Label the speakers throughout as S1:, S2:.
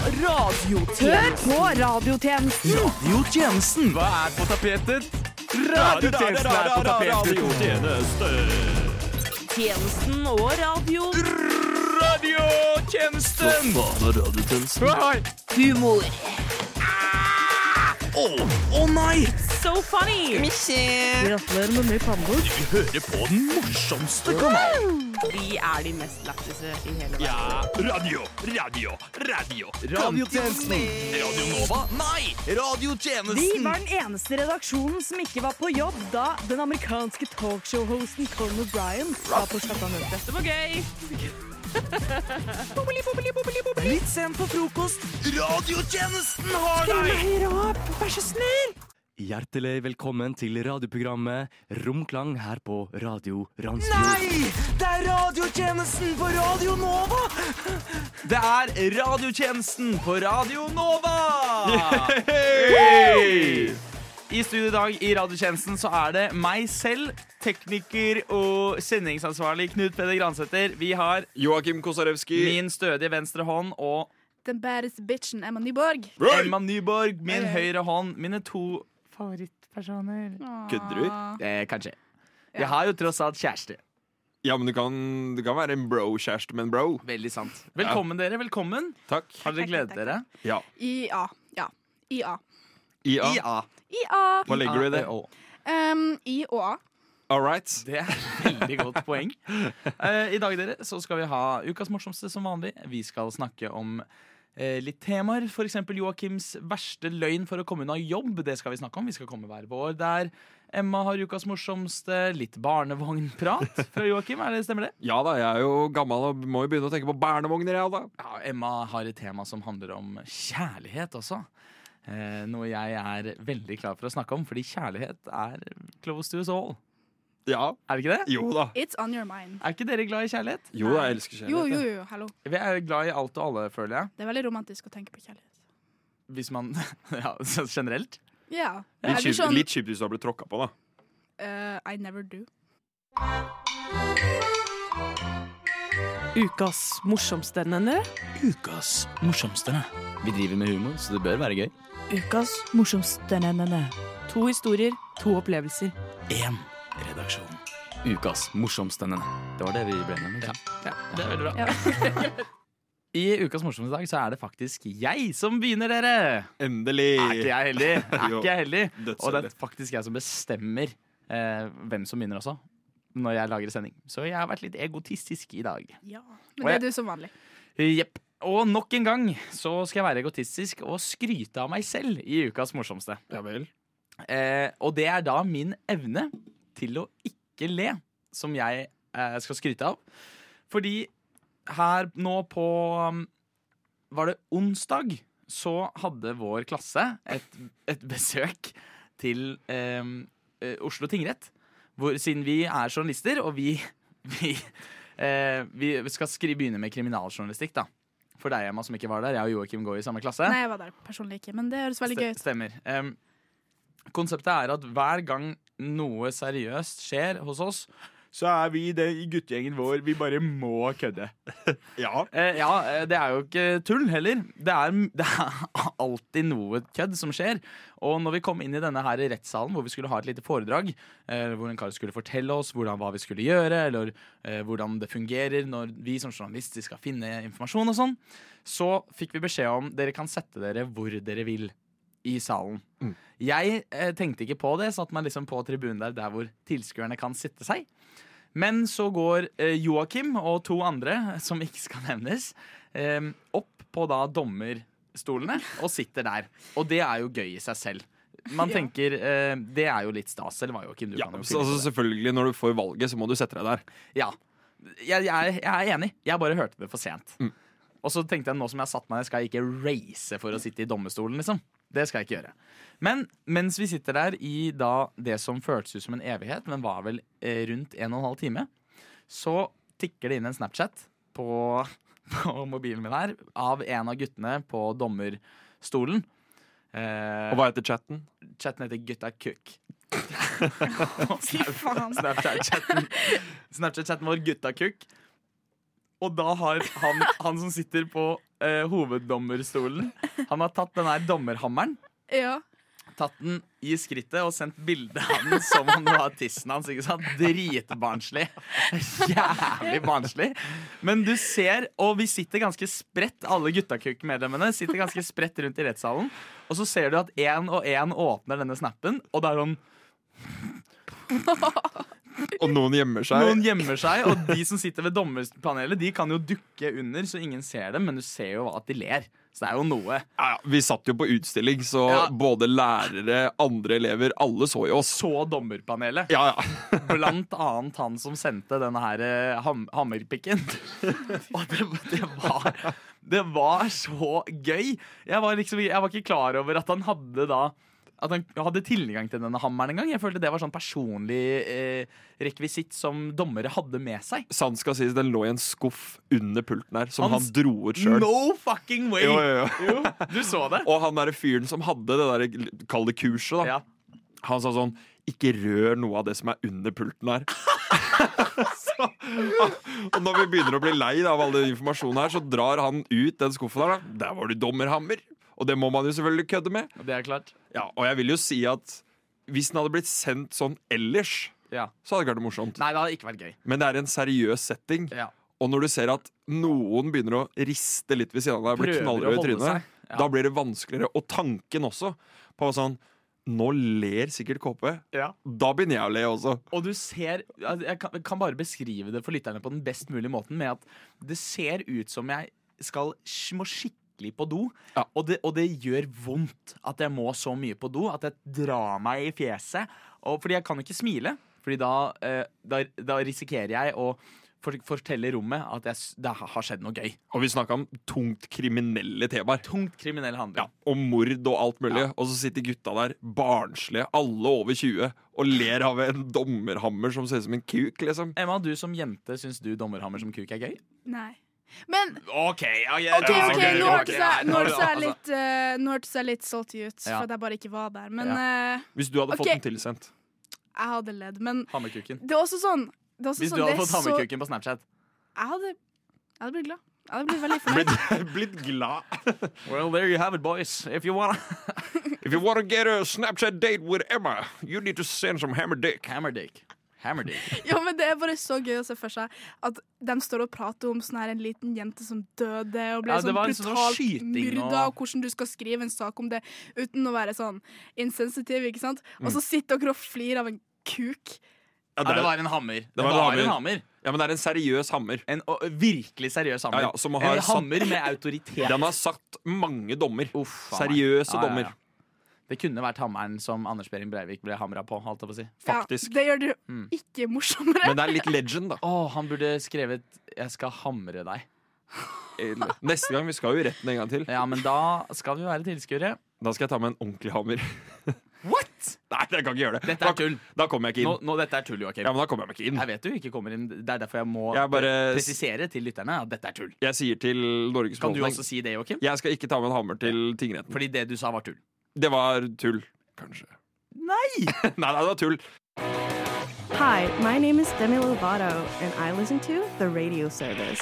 S1: Hør på radiotjenesten!
S2: Radiotjenesten. Hva er på tapetet? Radiotjenesten er på tapetet.
S1: Tjenesten og radio.
S2: Radiotjenesten! Oi.
S1: Humor.
S2: Ah! Å å nei!
S1: So funny! Gratulerer med ny pannebok.
S2: Vi hører på den morsomste kanalen.
S1: Vi er de mest lættise i hele verden.
S2: Ja, radio, radio, radio. Radiotjenesten. Radio Nova? Nei!
S3: Vi
S2: Radiotjenesten.
S3: var den eneste redaksjonen som ikke var på jobb da den amerikanske talkshow-hosten Colin O'Brien var på skatteanmeldelse.
S1: Det var gøy!
S2: Litt sent på frokost. Radiotjenesten har deg!
S4: Hjertelig velkommen til radioprogrammet Romklang her på Radio Randsfjord.
S2: Nei! Det er radiotjenesten på Radio Nova! Det er radiotjenesten på Radio Nova! Hey! I studio i dag i radiotjenesten så er det meg selv, tekniker og sendingsansvarlig Knut Peder Gransæter. Vi har
S5: Joakim Kosarewski.
S2: min stødige venstre hånd og
S6: Den baddest bitchen Emma Nyborg.
S2: Emma Nyborg, min høyre hånd, mine to favorittpersoner.
S5: Kødder du?
S2: Eh, kanskje. Jeg har jo tross alt kjæreste.
S5: Ja, men du kan, du kan være en bro-kjæreste med en bro.
S2: Veldig sant. Velkommen, dere. Velkommen.
S5: Takk.
S2: Har dere gledet dere?
S5: Ja.
S6: IA. Ja. IA.
S5: IA.
S2: IA.
S6: IA.
S5: Hva legger du i det?
S2: Ah, eh,
S6: Um, I og A.
S5: All right.
S2: Det er et veldig godt poeng. Eh, I dag dere, så skal vi ha ukas morsomste som vanlig. Vi skal snakke om eh, litt temaer. F.eks. Joakims verste løgn for å komme unna jobb. Det skal vi snakke om. Vi skal komme hver vår der. Emma har ukas morsomste. Litt barnevognprat fra Joakim. Er det, stemmer det?
S5: Ja da, jeg er jo gammel og må jo begynne å tenke på barnevogner, jeg da.
S2: Ja, Emma har et tema som handler om kjærlighet også. Eh, noe jeg er veldig klar for å snakke om, fordi kjærlighet er close to us all.
S5: Ja.
S2: Er det ikke det?
S5: Jo da.
S6: It's on your mind.
S2: Er ikke dere glad i kjærlighet?
S5: Jo da, jeg elsker
S6: Jo, jo,
S5: kjærlighet.
S6: jo, hallo.
S2: Vi er glad i alt og alle, føler jeg.
S6: Det er veldig romantisk å tenke på kjærlighet.
S2: Hvis man Ja, så generelt.
S6: Ja. Jeg
S5: jeg. Litt
S6: blir
S5: kjipt-
S6: sånn
S5: Litt kjipt hvis du har blitt tråkka på, da.
S6: eh, I never do.
S3: Ukas morsomste, nevner
S4: Ukas morsomste. Vi driver med humor, så det bør være gøy.
S3: Ukas morsomste, nevner To historier, to opplevelser.
S4: Én redaksjon. Ukas morsomste. Det var det vi ble enige om. ikke sant?
S2: Det er veldig bra. I Ukas morsomste dag så er det faktisk jeg som begynner, dere!
S5: Endelig.
S2: Er ikke jeg heldig? Er
S5: Jo.
S2: ikke jeg heldig? Og det
S5: Dødsheldig.
S2: er faktisk jeg som bestemmer eh, hvem som begynner også, når jeg lager sending. Så jeg har vært litt egotistisk i dag.
S6: Ja.
S2: Og
S6: Men
S2: jeg-
S6: det er du som vanlig.
S2: Jepp. Og nok en gang så skal jeg være egotistisk og skryte av meg selv i Ukas morsomste.
S5: Ja vel.
S2: Eh, og det er da min evne til å ikke le som jeg eh, skal skryte av. Fordi her nå på um, Var det onsdag? Så hadde vår klasse et, et besøk til eh, eh, Oslo tingrett. Hvor, siden vi er journalister, og vi, vi, eh, vi skal skri, begynne med kriminaljournalistikk, da. For deg, Emma, som ikke var der. Jeg og Joakim går i samme klasse.
S6: Nei, jeg var der personlig ikke, men det høres veldig gøy
S2: Ste-
S6: ut.
S2: Stemmer. Em, konseptet er at hver gang noe seriøst skjer hos oss, så er vi det i guttegjengen vår. Vi bare må kødde.
S5: Ja.
S2: Eh, ja, eh, det er jo ikke tull heller. Det er, det er alltid noe kødd som skjer. Og når vi kom inn i denne her rettssalen hvor vi skulle ha et lite foredrag, eh, hvor en kar skulle fortelle oss hvordan, hva vi skulle gjøre, eller eh, hvordan det fungerer når vi som journalister skal finne informasjon og sånn, så fikk vi beskjed om dere kan sette dere hvor dere vil i salen.
S5: Mm.
S2: Jeg eh, tenkte ikke på det, satte meg liksom på tribunen der, der hvor tilskuerne kan sitte seg. Men så går eh, Joakim og to andre, som ikke skal nevnes, eh, opp på da dommerstolene og sitter der. Og det er jo gøy i seg selv. Man
S6: Ja.
S2: tenker eh, Det er jo litt stas, eller hva, Joakim? Du
S5: ja
S2: kan jo
S5: så,
S2: fylle på
S5: altså,
S2: det.
S5: selvfølgelig, når du får valget, så må du sette deg der.
S2: Ja. Jeg, jeg, er- jeg er enig. Jeg bare hørte det for sent.
S5: Mm.
S2: Og så tenkte jeg nå som jeg har satt meg ned, skal jeg ikke race for å sitte i dommerstolen, liksom. Det skal jeg ikke gjøre. Men mens vi sitter der i da det som føltes ut som en evighet, men var vel eh, rundt en og en halv time, så tikker det inn en Snapchat på, på mobilen min her av en av guttene på dommerstolen. Eh,
S5: Og hva heter chatten?
S2: chatten heter Gutta Cook.
S6: Fy faen.
S2: Snapchat-chatten Snapchat-chatten vår, gutta kukk Og da har han, han som sitter på eh, hoveddommerstolen, han har tatt den her dommerhammeren,
S6: Ja.
S2: tatt den i skrittet og sendt bilde av den som om det var tissen hans. ikke sant? Dritbarnslig. Jævlig barnslig. Men du ser, og vi sitter ganske spredt, alle Guttakuk-medlemmene sitter ganske spredt rundt i rettssalen, og så ser du at én og én åpner denne snappen, og da er sånn
S5: Og noen gjemmer seg.
S2: Noen gjemmer seg, og de som sitter ved dommerpanelet, de kan jo dukke under, så ingen ser dem, men du ser jo at de ler. Så det er jo noe.
S5: Ja, ja, vi satt jo på utstilling, så
S2: Ja.
S5: både lærere, andre elever, alle så jo oss.
S2: Så dommerpanelet.
S5: Ja, ja.
S2: Blant annet han som sendte denne her eh, ham hammerpikken. Og det, det var Det var så gøy. Jeg var liksom Jeg var ikke klar over at han hadde da at han hadde tilgang til denne hammeren engang. Jeg følte det var sånn personlig eh, rekvisitt som dommere hadde med seg.
S5: Sant skal sies, den lå i en skuff under pulten her, som
S2: Han
S5: han,
S2: s-
S5: dro ut sjøl.
S2: No fucking way!
S5: Jo, jo, jo.
S2: Jo, du så det.
S5: Og han derre fyren som hadde det der, kall det kurset, da.
S2: Ja.
S5: Han sa sånn Ikke rør noe av det som er under pulten her. så, og når vi begynner å bli lei da, av all den informasjonen her, så drar han ut den skuffen her. Da. Der var det dommerhammer! Og det må man jo selvfølgelig kødde med.
S2: Det er klart.
S5: Ja, og jeg vil jo si at hvis den hadde blitt sendt sånn ellers,
S2: Ja.
S5: så hadde det ikke vært morsomt.
S2: Nei, det hadde ikke vært gøy.
S5: Men det er en seriøs setting.
S2: Ja.
S5: Og når du ser at noen begynner å riste litt ved siden av deg, blir
S2: Prøver å
S5: knallrød i
S2: holde seg.
S5: trynet,
S2: Ja.
S5: da blir det vanskeligere. Og tanken også på sånn Nå ler sikkert KP. Da begynner jeg å le også.
S2: Og du ser altså, Jeg kan, kan bare beskrive det for lytterne på den best mulige måten med at det ser ut som jeg skal sk- må skikkelig på do,
S5: Ja.
S2: og, det, og det gjør vondt at jeg må så mye på do at jeg drar meg i fjeset. Og, fordi jeg kan ikke smile, Fordi da, eh, da, da risikerer jeg å for, fortelle rommet at jeg, s- det har skjedd noe gøy.
S5: Og vi snakka om tungt kriminelle temaer.
S2: Tungt kriminell handling.
S5: Ja, og mord og alt mulig. Og så sitter gutta der, barnslige, alle over 20, og ler av en dommerhammer som ser ut som en kuk, liksom.
S2: Emma, du som jente, syns du dommerhammer som kuk er gøy?
S6: Nei. Men
S2: OK,
S6: OK,
S5: Ja,
S6: ok,
S5: ok,
S6: nå
S5: ok,
S6: hørtes jeg, nå hørtes jeg
S2: altså.
S6: litt eh, Nå hørtes jeg litt salty ut,
S2: Ja.
S6: for at jeg bare ikke var der. Men eh,
S5: Hvis du hadde
S6: Ok.
S5: fått den tilsendt.
S6: jeg hadde ledd. Men
S2: Hammerkuken.
S6: det er også sånn det er også
S2: Hvis
S6: sånn,
S2: du hadde
S6: det er
S2: fått
S6: så-
S2: hammerkuken på Snapchat.
S6: Jeg hadde, jeg hadde blitt glad. Jeg hadde blitt veldig fornøyd.
S5: Blitt, blitt glad.
S2: Well, there you have it, boys. If you wanna
S5: If you wanna get a Snapchat date with Emma, you need to send some hammer dick.
S2: Hammerdick. Hammerdick.
S6: Ja, men Det er bare så gøy å se for seg at de står og prater om sånn her en liten jente som døde, og ble
S2: Ja, det
S6: sånn
S2: var en sånn
S6: brutalt
S2: skyting og-
S6: myrda, og... hvordan du skal skrive en sak om det uten å være sånn insensitiv. ikke sant?
S5: Mm.
S6: Og så sitter dere og flirer av en kuk.
S5: Ja,
S2: Ja,
S5: det
S2: det
S5: er,
S2: var en hammer. Det
S5: var en
S2: var
S5: hammer.
S2: en hammer.
S5: ja, men det er en seriøs hammer.
S2: En å, virkelig seriøs hammer.
S5: Ja, ja, som har
S2: en
S5: satt-
S2: hammer med autoritet.
S5: Den har satt mange dommer.
S2: Uff, faen meg. Ja,
S5: Seriøse
S2: ja, ja.
S5: dommer.
S2: Det kunne vært hammeren som Anders Behring Breivik ble hamra på. Holdt jeg på å si.
S5: Faktisk.
S6: Ja, det gjør det jo
S2: Mm.
S6: ikke morsommere.
S5: Men det er litt legend, da.
S2: Å, han burde skrevet 'Jeg skal hamre deg'.
S5: Eller- Neste gang, vi skal jo i retten en gang til.
S2: Ja, men da skal vi være tilskuere.
S5: Da skal jeg ta med en ordentlig hammer.
S2: What?!
S5: Nei, jeg kan ikke gjøre det.
S2: Dette
S5: Da-
S2: er tull.
S5: Da kommer jeg ikke
S2: Nå,
S5: inn.
S2: nå, dette er tull, Joakim.
S5: Ja, men da kommer jeg meg ikke inn.
S2: Jeg vet du ikke kommer inn. Det er derfor jeg må
S5: Jeg bare-
S2: presisere til lytterne at dette er tull.
S5: Jeg sier til Norges
S2: Kan du
S5: Befolkning
S2: også si det, Joakim?
S5: Jeg skal ikke ta med en hammer til tingretten.
S2: Fordi det du sa, var tull.
S5: Det var tull. Kanskje.
S2: Nei!
S5: Nei, nei, det var tull.
S1: Hi, my name is Demi Lovato, and I listen to the radio service.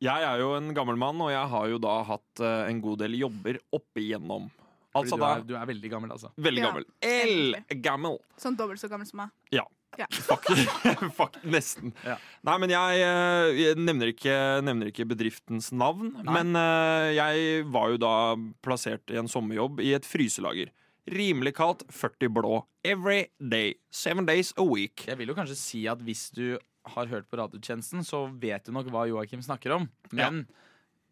S5: Jeg er jo en gammel mann, og jeg har jo da hatt eh, en god del jobber opp igjennom.
S2: Fordi
S5: Altså
S2: du
S5: da
S2: er, du er veldig gammel, altså.
S5: Veldig
S6: Ja,
S5: gammel. El-gammel.
S6: Sånn dobbelt så gammel som meg.
S5: Ja.
S6: Ja.
S5: Faktisk. Fakt, nesten.
S2: Ja.
S5: Nei, men jeg, eh, jeg nevner, ikke, nevner ikke bedriftens navn.
S2: Nei.
S5: Men eh, jeg var jo da plassert i en sommerjobb i et fryselager. Rimelig kaldt, 40 blå. Every day. Seven days a week.
S2: Jeg vil jo kanskje si at hvis du har hørt på radiotjenesten, så vet du nok hva Joakim snakker om. Men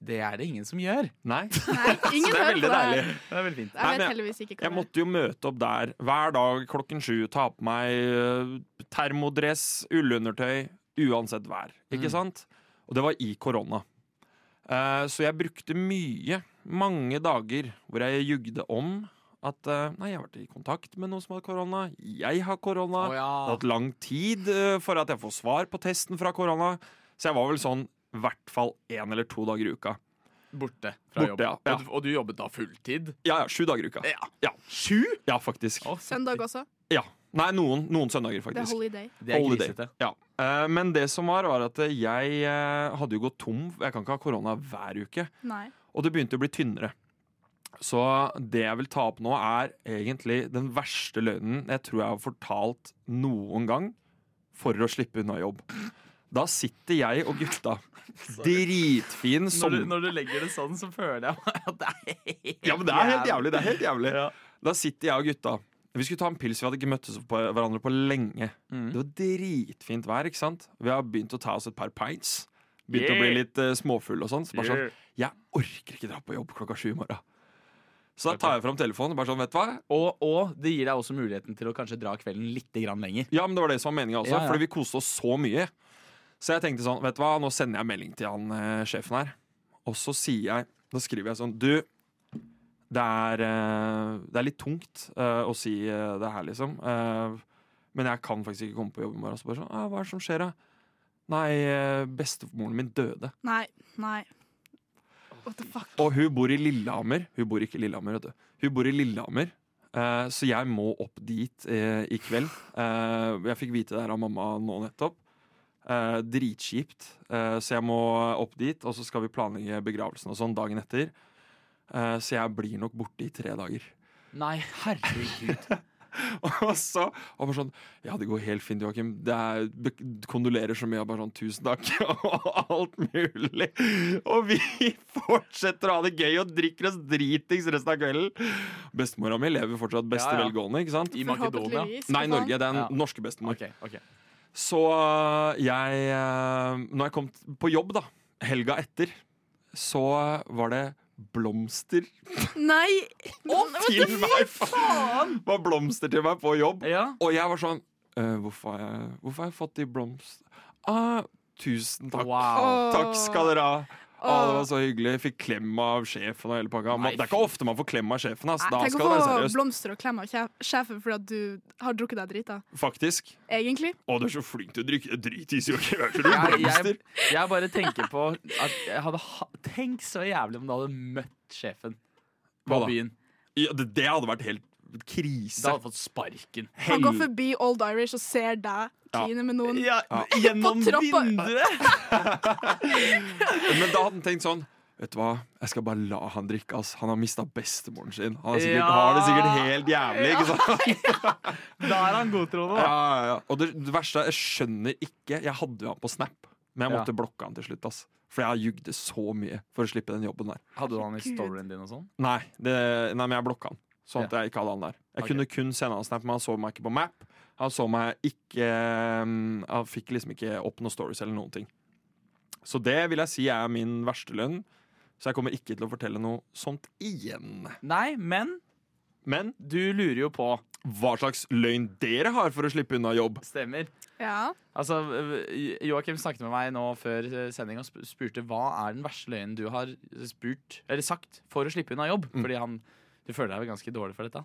S2: det er det ingen som gjør.
S5: Nei,
S6: Nei, ingen
S5: det
S6: hører
S5: er
S6: på
S5: veldig
S6: det.
S5: deilig.
S6: her.
S2: Det er veldig fint.
S5: Nei,
S6: Jeg vet
S5: men
S6: heldigvis ikke hva
S5: Jeg
S6: det er.
S5: måtte jo møte opp der hver dag klokken sju, ta på meg eh, termodress, ullundertøy, uansett vær.
S2: Mm.
S5: Ikke sant? Og det var i korona. Eh, så jeg brukte mye, mange dager hvor jeg jugde om at eh, nei, jeg har vært i kontakt med noen som har korona, jeg har korona.
S2: Å, ja.
S5: Det har tatt lang tid eh, for at jeg får svar på testen fra korona. Så jeg var vel sånn i hvert fall én eller to dager i uka.
S2: Borte fra jobb.
S5: Borte,
S2: Eh.
S5: ja, ja.
S2: Og, du, og du jobbet da fulltid?
S5: Ja, ja, sju dager i uka.
S2: Ja.
S5: Ja,
S2: Sju?
S5: ja faktisk.
S2: Å, så-
S6: Søndag også.
S5: Ja. Nei, noen, noen søndager,
S6: Det er
S5: faktisk.
S6: holiday.
S2: Det er
S5: Holiday.
S2: grisete.
S5: Ja. Eh, Men det som var, var at jeg eh, hadde jo gått tom. Jeg kan ikke ha korona hver uke.
S6: Nei.
S5: Og det begynte å bli tynnere. Så det jeg vil ta opp nå, er egentlig den verste løgnen jeg tror jeg har fortalt noen gang for å slippe unna jobb. Da sitter jeg og gutta, dritfin
S2: Når du,
S5: sommer...
S2: når du legger det sånn, så føler jeg at det er helt
S5: Ja, men det er helt jævlig. Det er helt jævlig.
S2: Ja.
S5: Da sitter jeg og gutta. Vi skulle ta en pils, vi hadde ikke møttes på hverandre på lenge.
S2: Mm.
S5: Det var dritfint vær, ikke sant? Vi har begynt å ta oss et par pints. Begynt å bli
S2: Yeah.
S5: litt uh, småfull og sånn. Så bare sånn,
S2: Yeah.
S5: jeg orker ikke dra på jobb klokka sju i morgen. Så da tar jeg fram telefonen og bare sånn, vet du hva?
S2: Og, og det gir deg også muligheten til å kanskje dra kvelden litt grann lenger.
S5: Ja, men det var det som var meninga også,
S2: Ja, ja.
S5: fordi vi koste oss så mye. Så jeg tenkte sånn, vet du hva, nå sender jeg melding til han eh, sjefen her. Og så sier jeg, da skriver jeg sånn, du, det er, eh, det er litt tungt eh, å si eh, det her, liksom. Eh, men jeg kan faktisk ikke komme på jobb i morgen. Så bare sånn, ah, hva er det som skjer da? Nei, eh, bestemoren min døde.
S6: Nei. Nei. What the fuck?
S5: Og hun bor i Lillehammer. Hun bor ikke i Lillehammer, vet du. Hun bor i Lillehammer, eh, så jeg må opp dit eh, i kveld. Eh, jeg fikk vite det her av mamma nå nettopp. Eh, dritkjipt. Eh, så jeg må opp dit, og så skal vi planlegge begravelsen og sånn dagen etter. Eh, så jeg blir nok borte i tre dager.
S2: Nei, herregud.
S5: og så og bare sånn Ja, det går helt fint, Joakim. Det er, be- kondolerer så mye. Og bare sånn Tusen takk. Og alt mulig. Og vi fortsetter å ha det gøy og drikker oss dritings resten av kvelden. Bestemora mi lever fortsatt beste
S2: Ja, ja.
S5: velgående, ikke sant?
S2: I Makedonia.
S6: Forhåpentligvis.
S5: Nei,
S6: for faen.
S5: Norge. Det er den
S2: Ja.
S5: norske bestemor.
S2: Ok, ok.
S5: Så jeg eh, Når jeg kom t- på jobb, da, helga etter, så var det blomster
S6: Nei!
S5: til meg! Faen! Var blomster til meg på jobb.
S2: Ja.
S5: Og jeg var sånn «Eh, hvorfor, har jeg, hvorfor har jeg fått de blomstene? Ah, tusen takk.
S2: Wow.
S5: Takk skal dere ha. Ah, det var så hyggelig. Jeg fikk klem av sjefen og hele pakka.
S2: Nei,
S5: Man, det er ikke ofte man får klem av sjefen. Ass. Da
S6: Tenk å
S5: skal det være
S6: få
S5: seriøst.
S6: blomster og klem av sjef- sjefen fordi at du har drukket deg drita.
S5: Faktisk.
S6: Egentlig.
S5: Å, du er så flink til å drikke dritis, Joakim.
S2: Jeg,
S5: Jeg
S2: jeg,
S5: blomster.
S2: jeg bare tenker på at jeg hadde ha, Tenk så jævlig om du hadde møtt sjefen på
S5: Hva da?
S2: byen.
S5: Ja, det, det hadde vært helt
S2: Da
S5: krise.
S2: hadde du fått sparken.
S6: Han går
S5: Hel-
S6: forbi Old Irish og ser deg kline med noen.
S2: Ja,
S6: På trappa.
S5: Men da hadde han tenkt sånn Vet du hva, jeg skal bare la han drikke. Ass. Han har mista bestemoren sin. Han er sikkert,
S2: Ja.
S5: har det sikkert helt jævlig. Ikke sant?
S2: Da er han godtroende. da.
S5: Ja, ja, ja. Og det, det verste er, jeg skjønner ikke Jeg hadde jo han på Snap, men jeg måtte blokke han til slutt. Ass. For jeg jugde så mye for å slippe den jobben der.
S2: Hadde du han i storyen din og sånn?
S5: Nei, det, nei men jeg blokka han. Sånn at jeg ikke hadde han der. Jeg
S2: Ok.
S5: kunne kun sende han Snap, men han så meg ikke på Map. Han så meg ikke um, Han fikk liksom ikke opp noen stories eller noen ting. Så det vil jeg si er min verste lønn. Så jeg kommer ikke til å fortelle noe sånt igjen.
S2: Nei, men
S5: Men
S2: du lurer jo på.
S5: hva slags løgn dere har for å slippe unna jobb?
S2: Stemmer.
S6: Ja.
S2: Altså, øh, Joakim snakket med meg nå før øh, sending og sp- spurte hva er den verste løgnen du har spurt, eller sagt for å slippe unna jobb. Fordi han, du føler deg vel ganske dårlig for dette.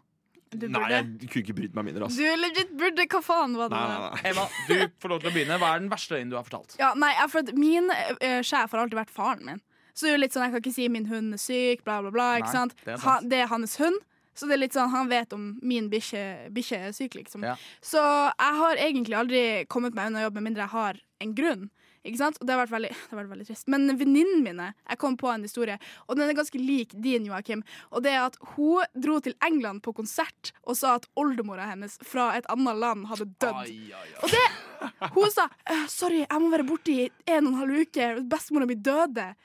S6: Du
S5: Nei,
S6: burde.
S5: jeg kunne ikke brydd meg mindre. ass
S6: Du legit burde. Hva faen var det?
S5: Nei, nei, nei.
S2: Emma, du får lov til å begynne. Hva er den verste løgnen du har fortalt?
S6: Ja, nei, jeg- for at Min eh, sjef har alltid vært faren min. Så det er jo litt sånn, Jeg kan ikke si min hund er syk, bla, bla, bla.
S2: Nei,
S6: ikke sant?
S2: det er sant.
S6: Ha, det er hans hund, så det er litt sånn, han vet om min bikkje bikkje er syk. liksom.
S2: Ja.
S6: Så jeg har egentlig aldri kommet meg unna jobb med mindre jeg har en grunn. Ikke sant? Og det har vært veldig, det har vært veldig trist. Men venninnene mine Jeg kom på en historie, og den er ganske lik din, Joakim. Og det er at hun dro til England på konsert og sa at oldemora hennes fra et annet land hadde dødd. Og det Hun sa «Eh, 'sorry, jeg må være borte i en og en halv uke, bestemora mi døde'.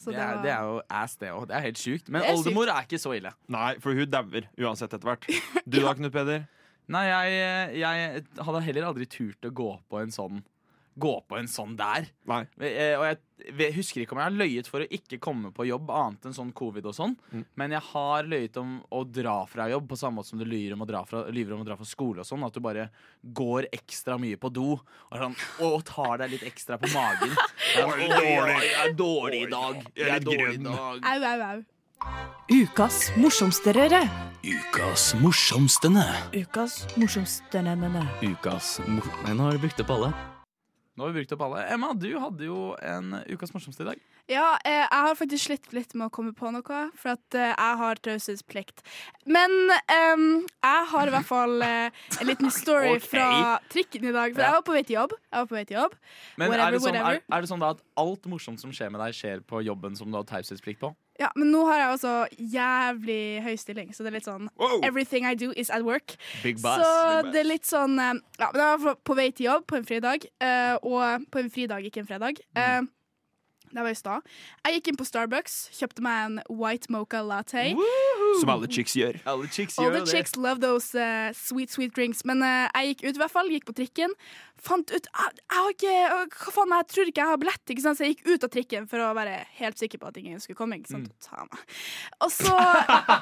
S6: Så
S2: Det er,
S6: var-
S2: det er jo ass, det òg. Det er helt sjukt. Men
S6: Det er
S2: oldemor er ikke så ille.
S5: Nei, for hun dauer uansett etter hvert. Du da, Knut Peder?
S2: Nei, jeg, jeg hadde heller aldri turt å gå på en sånn Gå på en sånn der.
S5: Nei.
S2: Eh, Og jeg ve- husker ikke om jeg har løyet for å ikke komme på jobb, annet enn sånn covid og sånn. Men jeg har løyet om å dra fra jobb, på samme måte som du lyver om å dra fra, lyver om å dra fra skole og sånn. At du bare går ekstra mye på do og, er sånn, og tar deg litt ekstra på magen. Jeg er, sånn, «Oi, oi, jeg er dårlig i dag. Jeg er dårlig i dag.
S6: Au, au, au.
S3: Ukas morsomsterere.
S4: Ukas morsomstene.
S3: Ukas morsomsterere.
S4: Ukas mor... Nei, nå har jeg brukt opp alle.
S2: Nå har vi brukt opp alle. Emma, du hadde jo en ukas morsomste i dag.
S6: Ja, eh, jeg har faktisk slitt litt med å komme på noe, for at eh, jeg har taushetsplikt. Men ehm, jeg har i hvert fall eh, en liten story
S2: Ok.
S6: fra trikken i dag. For jeg var på vei til jobb. Jeg var på vei til jobb.
S2: Men
S6: Whatever,
S2: er, det sånn, er,
S6: whatever.
S2: er det sånn da at alt morsomt som skjer med deg, skjer på jobben som du har taushetsplikt på?
S6: Ja, Men nå har jeg også jævlig høy stilling, så det er litt sånn Everything I do is at work.
S2: Big
S6: Så det er litt sånn eh, Ja, men jeg var på vei til jobb på en fridag, eh, og på en fridag, ikke en fredag.
S2: Mm.
S6: Eh, Det var i stad. Jeg gikk inn på Starbucks, kjøpte meg en white mocha latte.
S5: Som alle chicks gjør.
S2: Alle chicks
S6: All
S2: gjør
S6: the
S2: jo det.
S6: chicks love those eh, sweet, sweet drinks. Men eh, jeg gikk ut i hvert fall, gikk på trikken. Fant ut Jeg, jeg har ikke øh, Hva faen, jeg tror ikke jeg har billett, ikke sant? så jeg gikk ut av trikken for å være helt sikker på at ingen skulle komme. Ikke
S2: Mm.
S6: sant? Og Ta meg. Og så,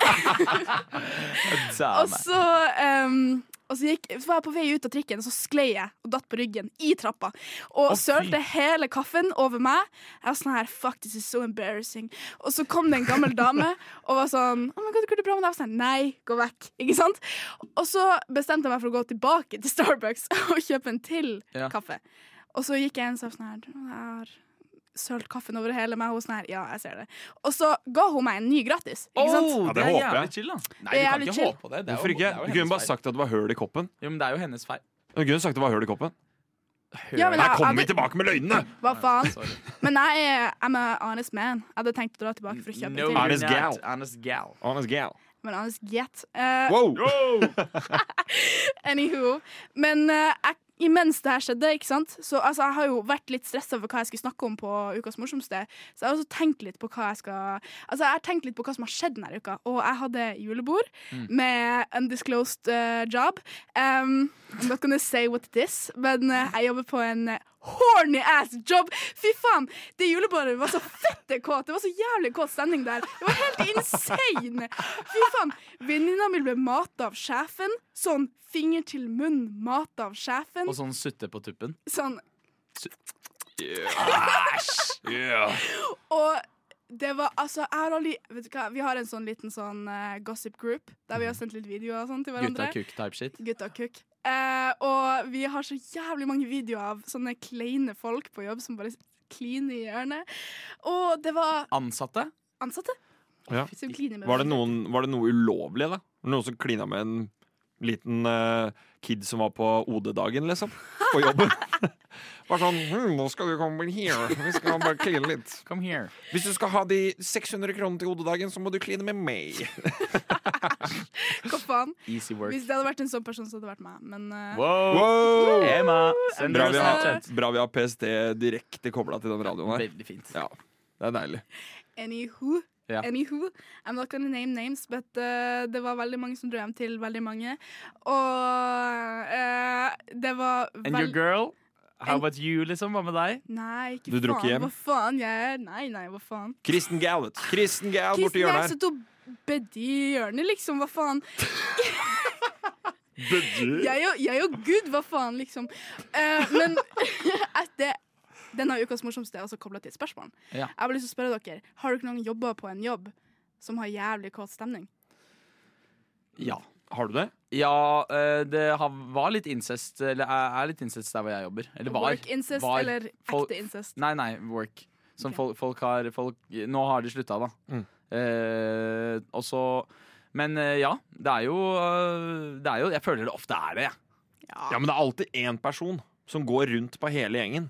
S6: og
S2: Dame.
S6: så ehm, og så, gikk, så var jeg på vei ut av trikken, og så sklei jeg og datt på ryggen i trappa. Og sølte hele kaffen over meg. Jeg var sånn her, fuck, this is so embarrassing. Og så kom det en gammel dame og var sånn oh my God, går det bra med deg? Og så sa jeg, nei, gå vekk. Ikke sant? Og så bestemte jeg meg for å gå tilbake til Starbucks og kjøpe en til
S2: Ja.
S6: kaffe. Og så gikk jeg inn og sa sånn her, jeg har sølt kaffen over hele meg. Og hun sånn her, ja, jeg ser det. Og så ga hun meg en ny gratis. Ikke sant?
S2: Oh,
S5: Ja, det
S2: det er
S5: håper jeg.
S2: jævlig chill, da. Nei,
S6: Det
S2: du
S6: er
S2: kan
S6: jævlig
S2: ikke
S6: chill.
S2: håpe på det. det er
S5: Hvorfor
S2: jo-
S5: ikke?
S2: det er jo
S5: Du kunne bare
S2: hennes feil.
S5: sagt at det var høl i koppen.
S2: Jo, men det er jo hennes feil.
S5: Du kunne sagt at det var høl i koppen.
S6: Ja, men
S5: Her
S6: jeg-
S5: kommer vi
S6: jeg-
S5: tilbake med løgnene!
S6: Hva faen?
S2: Sorry.
S6: Men jeg er I'm a honest man. Jeg hadde tenkt å dra tilbake for å kjøpe
S2: No,
S6: en
S5: Honest
S2: you're not.
S5: gal.
S2: Honest gal.
S5: Honest gal.
S6: til. Men honest get. Eh,
S5: Wow!
S6: anywho. Men eh, jeg, imens det her skjedde, ikke sant Så altså, jeg har jo vært litt stressa for hva jeg skulle snakke om på Ukas morsomste. Så jeg har også tenkt litt på hva jeg skal Altså, jeg har tenkt litt på hva som har skjedd denne uka. Og jeg hadde julebord med undisclosed eh, job. Um, I'm not gonna say what it is, men eh, jeg jobber på en eh, horny ass job. Fy faen! Det julebordet var så fette kåt. Det var så jævlig kåt stemning der. Det var helt insane. Fy faen. Venninna mi ble mata av sjefen. Sånn finger til munn, mata av sjefen.
S2: Og sånn sutte på tuppen.
S6: Sånn.
S5: Yeah.
S6: Og det var altså Jeg har aldri Vet du hva, vi har en sånn liten sånn eh, gossip group der vi har sendt litt videoer og sånn til hverandre.
S2: Gutta kuk-type shit.
S6: Gutta kukk. Eh, og vi har så jævlig mange videoer av sånne kleine folk på jobb som bare kliner i hjørnet. Og det var
S2: Ansatte?
S6: ansatte
S5: Ja.
S6: som kliner med
S5: Var, det noen, var det noe ulovlig, da? Var det Noen som klina med en liten eh, kid som var på OD-dagen, liksom? På jobben. Bare sånn hm, 'Nå skal du komme inn her. Vi skal bare kline litt.'
S2: Come here.
S5: 'Hvis du skal ha de 600 kronene til OD-dagen, så må du kline med meg.'
S6: Hva faen?
S2: Easy work.
S6: Hvis det hadde vært en sånn person, så hadde det vært meg. Men eh,
S2: Wow.
S5: Wow!
S2: Emma, send
S5: Bra
S2: oss
S5: vi har,
S2: Snapchat.
S5: bra vi har PST direkte kobla til den radioen her.
S2: Veldig fint.
S5: Ja, det er deilig.
S6: anywho,
S2: Ja.
S6: anywho I'm not gonna name names, but eh, det var veldig mange som dro hjem til veldig mange. Og eh, det var
S2: And your
S6: veldig
S2: girl? How
S6: En-
S2: about you, liksom? Hva med deg?
S6: Nei, ikke
S5: Du dro ikke
S6: faen.
S5: hjem?
S6: Hva faen? Jeg er Nei, nei, hva faen.
S5: Kristen Gal, vet du. Kristen Gal borti
S6: Kristen jeg
S5: hjørnet her.
S6: satt og bedde i hjørnet, liksom. Hva faen? Jeg og, jeg og Gud, hva faen, liksom. Eh, men at det, denne ukas morsomste er også kobla til et spørsmål.
S2: Ja.
S6: Jeg har bare lyst til å spørre dere Har dere noen jobber på en jobb som har jævlig kåt stemning?
S2: Ja.
S5: Har du det?
S2: Ja, eh, det har, var litt incest Eller er er litt incest der hvor jeg jobber. Eller var.
S6: Work incest
S2: var.
S6: eller
S2: Folk-
S6: ekte incest?
S2: Nei, nei, work. Sånn
S6: Ok.
S2: folk, folk har folk, Nå har de slutta, da.
S5: Mm.
S2: Eh, og så Men eh, ja, det er jo eh, Det er jo Jeg føler det ofte er det, jeg.
S5: Ja, men det er alltid én person som går rundt på hele gjengen.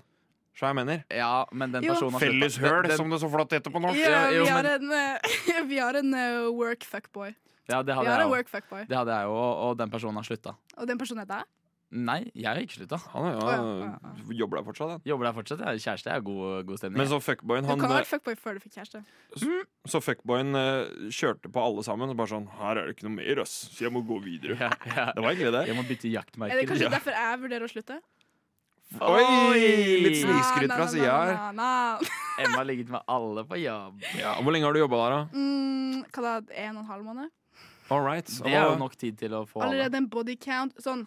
S5: Så jeg mener.
S2: Ja, men den
S6: Jo.
S2: personen har sluttet.
S5: Felleshøl,
S2: Den- den-
S5: som det så flott heter på norsk.
S6: Ja,
S2: jo,
S6: vi har
S2: men-
S6: en, eh, vi har en eh, work fuckboy.
S2: Ja, det
S6: Vi
S2: hadde jeg
S6: har en
S2: også.
S6: work fuckboy.
S2: Det hadde jeg jo, og- og den personen har slutta.
S6: Og den personen er deg?
S2: Nei, jeg har ikke slutta.
S5: Han er,
S6: Å,
S5: ja,
S6: ja, ja,
S5: jobber der fortsatt, han.
S2: Jobber der fortsatt. Jeg har kjæreste. Jeg har god, god stemning.
S5: Men så fuckboyen,
S6: Du
S5: han,
S6: kan ha
S2: eh,
S6: vært fuckboy før du fikk kjæreste.
S5: så fuckboyen eh, kjørte på alle sammen og bare sånn Her er det ikke noe mer, ass, så jeg må gå videre.
S2: ja, ja.
S5: Det var egentlig det.
S2: Jeg må bytte jaktmerker.
S6: Er det kanskje
S5: Ja.
S6: derfor jeg vurderer å slutte?
S5: Oi! Litt
S2: Oi!
S5: snikskryt fra sida her.
S6: Na, na, na, na, na.
S2: Emma har ligget med alle på jobb.
S5: Ja, hvor lenge har du jobba der, da?
S6: Mm, Hva da, en og en halv måned?
S5: All right.
S2: Det er jo nok tid til å få alle.
S6: Allerede en body count Sånn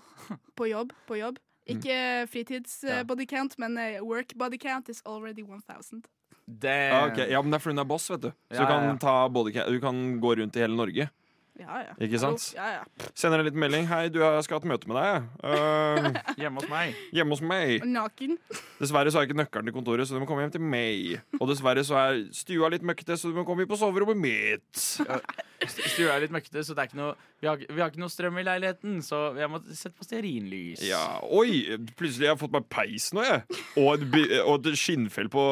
S6: på jobb, på jobb. Ikke fritids eh,
S2: Mm. Ja.
S6: body count, men eh, work body count is already 1000.
S2: Damn.
S5: Ah, Ok, Eh, ja, men det er fordi hun er boss, vet du. Så
S2: Ja,
S5: du,
S2: ja,
S5: kan
S2: ja.
S5: ta både, du kan gå rundt i hele Norge.
S6: Ja, ja.
S5: Ikke sant?
S6: Ja, ja.
S5: Sender en liten melding. 'Hei, du, jeg skal ha et møte med deg. jeg. Eh,
S2: Hjemme hos meg.
S5: hjemme hos meg.'
S6: Naken.
S5: Dessverre så har jeg ikke nøkkelen til kontoret, så du må komme hjem til meg. Og dessverre så er stua litt møkkete, så du må komme inn på soverommet mitt.
S2: Stua er litt møkkete, så det er ikke noe, vi, har, vi har ikke noe strøm i leiligheten. Så jeg må sette på stearinlys.
S5: Ja, Oi! Plutselig har jeg fått meg peis nå, jeg. Og et, bi- og et skinnfell på,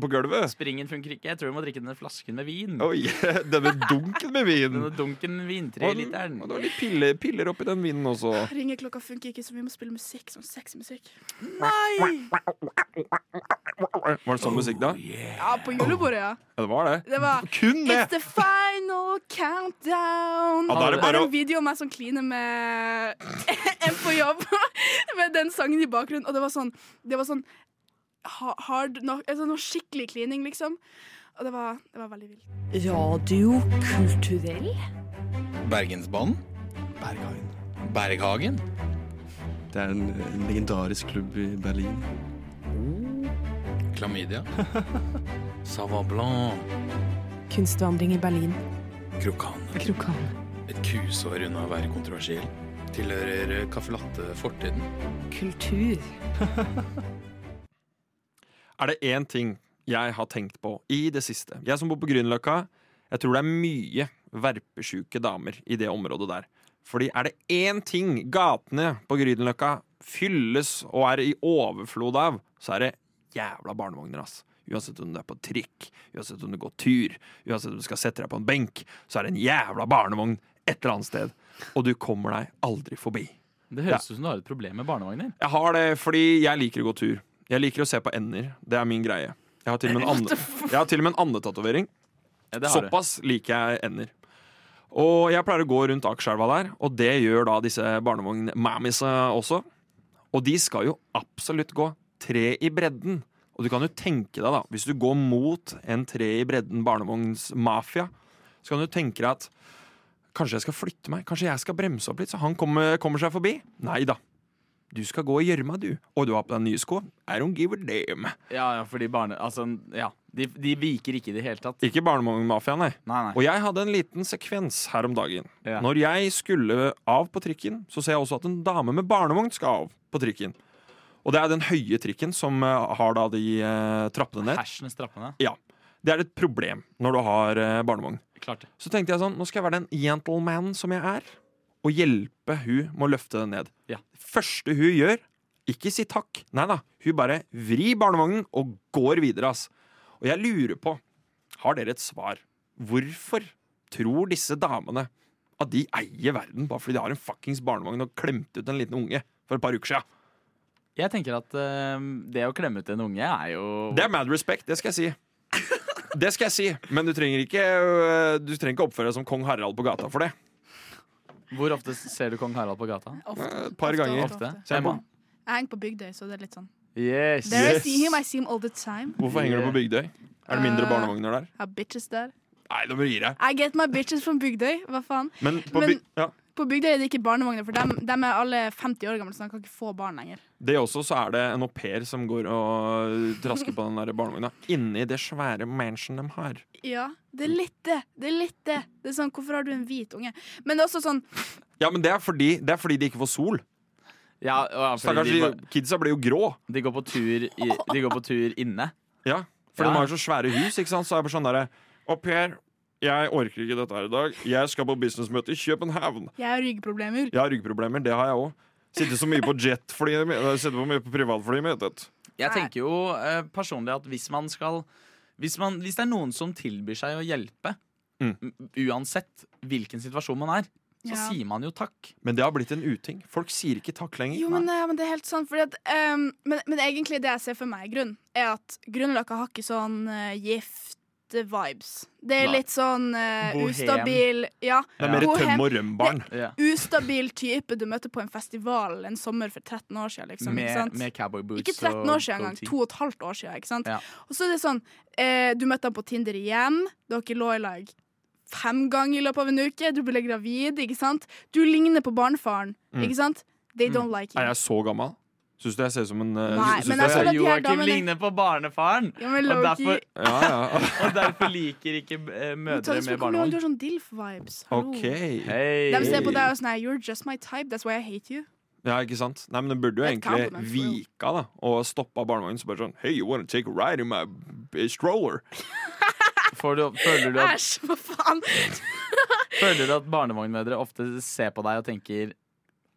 S5: på gulvet.
S2: Springen funker ikke. Jeg tror vi må drikke denne flasken med vin.
S5: Oi, Denne dunken med vin.
S2: Denne dunken
S5: Og den-
S2: vintreliteren.
S5: og det var litt piller, piller oppi den vinen også.
S6: Ringeklokka funker ikke, så vi må spille musikk. Sånn sexy musikk.
S5: Var det sånn musikk, da?
S6: Ja, på julebordet, ja.
S5: Ja, det var det.
S6: Det var
S5: Kun det!
S6: It's the final countdown.
S5: Ja, da er det bare
S6: Jeg har en
S5: å-
S6: video av meg som kliner med en på jobb med den sangen i bakgrunnen, og det var sånn, det var sånn ha- hard nok, altså noe skikkelig klining, liksom. Og det var, det var veldig vilt.
S3: Radio kulturell.
S7: Bergensbanen. Berghagen. Berghagen.
S4: Det er en, en legendarisk klubb i Berlin.
S7: Klamydia. Savant Blanc.
S3: Kunstvandring i Berlin.
S7: Krokan. Et kusår unna å være kontroversiell. Tilhører caffè latte-fortiden.
S3: Kultur.
S5: er det én ting jeg har tenkt på i det siste. Jeg som bor på Grünerløkka, jeg tror det er mye verpesjuke damer i det området der. Fordi er det én ting gatene på Grünerløkka fylles og er i overflod av, så er det jævla barnevogner, ass. Uansett om du er på trikk, uansett om du går tur, uansett om du skal sette deg på en benk, så er det en jævla barnevogn et eller annet sted. Og du kommer deg aldri forbi.
S2: Det høres ut som du har et problem med barnevogner.
S5: Jeg har det fordi jeg liker å gå tur. Jeg liker å se på ender. Det er min greie. Jeg har til og med en ande- jeg har til og med en andetatovering.
S2: Ja, det har du.
S5: Såpass liker jeg ender. Og jeg pleier å gå rundt Akerselva der, og det gjør da disse barnevognmammisa også. Og de skal jo absolutt gå tre i bredden. Og du kan jo tenke deg, da, hvis du går mot en tre i bredden barnevognsmafia, så kan du tenke deg at kanskje jeg skal flytte meg, kanskje jeg skal bremse opp litt, så han kommer, kommer seg forbi. Nei da. Du skal gå i gjørma, du. Og du har på deg nye sko. I don't give a damn.
S2: Ja, ja, fordi barne... Altså, ja. De, de viker ikke i det hele tatt.
S5: Ikke barnevognmafia, nei.
S2: Nei, nei.
S5: Og jeg hadde en liten sekvens her om dagen.
S2: Ja.
S5: Når jeg skulle av på trikken, så ser jeg også at en dame med barnevogn skal av på trikken. Og det er den høye trikken som eh, har da de eh, trappene ned.
S2: Hersenes trappene.
S5: Ja. Det er et problem når du har eh, barnevogn.
S2: Klart. det.
S5: Så tenkte jeg sånn, nå skal jeg være den gentleman som jeg er, og hjelpe hun med å løfte den ned.
S2: Ja.
S5: Første hun gjør, ikke si takk, nei da, hun bare vrir barnevognen og går videre, ass. Og jeg lurer på, har dere et svar? Hvorfor tror disse damene at de eier verden bare fordi de har en fuckings barnevogn og klemte ut en liten unge for et par uker siden?
S2: Jeg tenker at eh, det å klemme ut en unge er jo
S5: Det er mad respect, det skal jeg si. Det skal jeg si, men du trenger ikke, øh, du trenger ikke oppføre deg som kong Harald på gata for det.
S2: Hvor ofte ser du kong Harald på gata?
S6: Ofte.
S5: Et par ganger.
S2: Ofte.
S5: Så jeg må-
S6: Jeg henger på Bygdøy, så det er litt sånn.
S2: Yes.
S6: There I see him, I see him all the time.
S5: Hvorfor henger du på Bygdøy? Er det mindre
S6: Eh.
S5: barnevogner der?
S6: Have bitches der.
S5: Nei, da må du gi deg.
S6: I get my bitches from Bygdøy. Hva faen?
S5: Men på
S6: Men-
S5: Byg- ja.
S6: På Bygdøy er det ikke barnevogner, for dem, dem er alle 50 år gamle, så de kan ikke få barn lenger.
S5: det også, så er det en au pair som går og trasker på den der barnevogna. Inni det svære mansion de har.
S6: Ja, det er litt det. Det er litt det. Det er sånn, Hvorfor har du en hvit unge? Men det er også sånn
S5: Ja, men det er fordi, det er fordi de ikke får sol.
S2: Ja, og ja, fordi
S5: Stakkars
S2: de,
S5: de- kidsa blir jo grå.
S2: de, går på tur i, de går på tur inne.
S5: Ja, For
S2: Ja.
S5: de har jo så svære hus, ikke sant? Så er det bare sånn derre Au pair, jeg orker ikke dette her i dag. Jeg skal på businessmøte i København.
S6: Jeg har ryggproblemer.
S2: Mm,
S5: Jeg har ryggproblemer, det har jeg òg. Sitter så mye på jetflyet mitt. Sitter så mye på privatflyet mitt. vet du.
S2: Jeg
S6: Nei.
S2: tenker jo eh, personlig at hvis man skal hvis, man, hvis det er noen som tilbyr seg å hjelpe,
S5: Mm.
S2: m- uansett hvilken situasjon man er, så
S6: Ja.
S2: sier man jo takk.
S5: Men det har blitt en uting. Folk sier ikke takk lenger.
S6: Jo, men, ja, men det er helt sånn, fordi at ehm, men, men egentlig det jeg ser for meg i grunn, er at Grünerløkka har ikke sånn eh, gift-vibes. Det er
S2: Nei.
S6: litt sånn eh,
S2: Bohem.
S6: ustabil Ja.
S5: Det er mer
S6: Bohem.
S5: tøm og røm-barn.
S2: Ja.
S6: Ustabil type du møter på en festival en sommer for 13 år siden, liksom. ikke
S2: Med,
S6: sant?
S2: med cowboy boots
S6: Ikke 13 år
S2: og
S6: siden engang.
S2: goatee.
S6: To og et halvt år siden. Ikke sant?
S2: Ja.
S6: Og så er det sånn eh, Du møtte han på Tinder igjen. Dere lå i lag fem ganger i løpet av en uke. Du ble gravid. Ikke sant? Du ligner på barnefaren.
S5: Mm.
S6: Ikke sant? They
S2: Mm.
S6: don't like
S5: Er
S6: you.
S5: jeg så gammel? Syns du jeg ser ut som en eh,
S6: Nei,
S5: syns
S6: men
S5: du
S6: jeg
S2: altså,
S5: jeg-
S6: tror at de her
S2: Joakim
S6: damene-
S2: ligner på barnefaren,
S6: Ja, men
S2: og
S6: Loki
S2: derfor,
S5: Ja, ja.
S2: og derfor liker ikke eh, mødre med
S6: Tadde, kom igjen, Du
S2: barnehånd.
S6: har sånn DILF-vibes. Hallo.
S5: OK.
S2: Hei.
S6: De ser på deg og sånn her, You're just my type. That's why I hate you.
S5: Ja, ikke sant? Nei, men Den burde jo
S6: Et
S5: egentlig
S6: compliment, for real.
S5: vika da og stoppa barnevognen. Så bare sånn Hey, you wanna take a ride in my b- stroller?
S2: Får du, føler, du at,
S6: Æsj, hva faen?
S2: føler du at barnevognmødre ofte ser på deg og tenker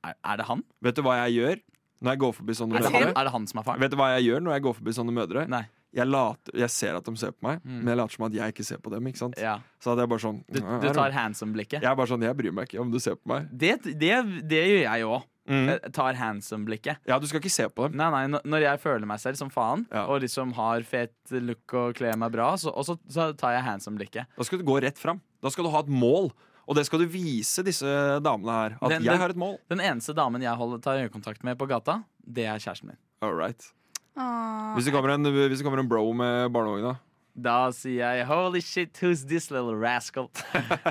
S2: Er, er det han?
S5: Vet du hva jeg gjør når jeg går forbi sånne
S2: Er det han,
S5: mødre?
S2: er det han som er faren?
S5: Vet du hva jeg gjør når jeg går forbi sånne mødre?
S2: Nei.
S5: Jeg, later, jeg ser at de ser på meg,
S2: Mm.
S5: men jeg later som at jeg ikke ser på dem. ikke sant?
S2: Ja.
S5: Så hadde jeg bare sånn
S2: Du, du tar handsome-blikket?
S5: Jeg er bare sånn, jeg bryr meg ikke om du ser på meg.
S2: Det, det, det gjør jeg òg.
S5: Mm.
S2: Tar handsome-blikket.
S5: Ja, du skal ikke se på dem.
S2: Nei, nei, n- Når jeg føler meg selv som faen,
S5: Ja.
S2: og liksom har fet look og kler meg bra, så, og så, så tar jeg handsome-blikket.
S5: Da skal du gå rett fram. Da skal du ha et mål. Og det skal du vise disse damene her. At
S2: Den- den-
S5: jeg har et mål.
S2: Den eneste damen jeg holder, tar øyekontakt med på gata, det er kjæresten min.
S5: All right.
S6: Åh.
S5: Hvis det kommer en, hvis det kommer en bro med barnevogna
S2: Da sier jeg 'holy shit, who's this little rascal'?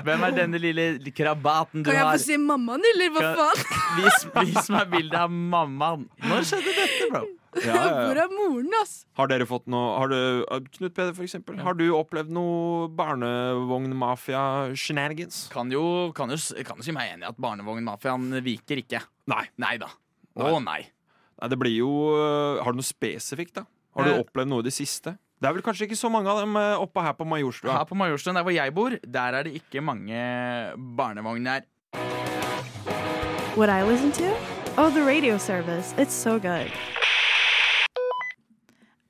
S2: Hvem er denne lille krabaten du
S6: Kan jeg
S2: har?
S6: få se mammaen, eller hva
S2: Kan-
S6: faen?
S2: Vis, vis meg bildet av mammaen. Når skjedde dette, bro?
S5: ja, ja,
S6: Hvor
S5: ja.
S6: er moren, ass?
S5: Har dere fått noe har du, uh, Knut Peder, for eksempel. Har du opplevd noe barnevognmafia-shenanigans?
S2: Kan jo, kan jo, s- kan jo si meg enig i at barnevognmafiaen viker ikke.
S5: Nei.
S2: Nei da. Å
S5: Nei.
S2: nei.
S5: Nei, det blir jo øh, Har du noe spesifikt, da? Har
S2: Eh.
S5: du opplevd noe i det siste? Det er vel kanskje ikke så mange av dem øh, oppe her på Majorstua.
S2: Her på Majorstuen, der hvor jeg bor, der er det ikke mange barnevogner.
S1: What I listen to? Oh, the radio service. It's so good.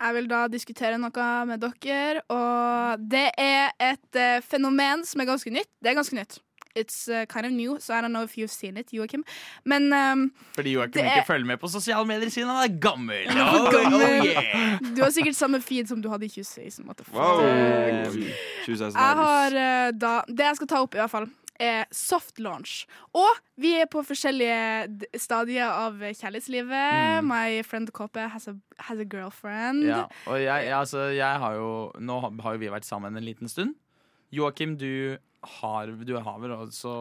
S6: Jeg vil da diskutere noe med dere, og det er et eh, fenomen som er ganske nytt. Det er ganske nytt. It's eh, kind of new, so I don't know if you've seen it, Joakim. Men ehm,
S2: Fordi Joakim
S6: Det er-
S2: ikke følger med på sosiale medier siden han er gammel.
S6: er for
S2: Oh,
S6: gammel.
S2: oh, yeah.
S6: du har sikkert samme feed som du hadde i 2016. What the fuck?
S5: Wow.
S6: Eh,
S5: 2016
S6: Jeg har
S5: er
S6: eh, da Det jeg skal ta opp, i hvert fall, er soft launch. Og vi er på forskjellige d- stadier av kjærlighetslivet.
S2: Mm.
S6: My friend Kåpe has a, has a girlfriend.
S2: Ja, og jeg, jeg, altså, jeg har jo Nå har har jo vi vært sammen en liten stund. Joakim, du har, du har vel også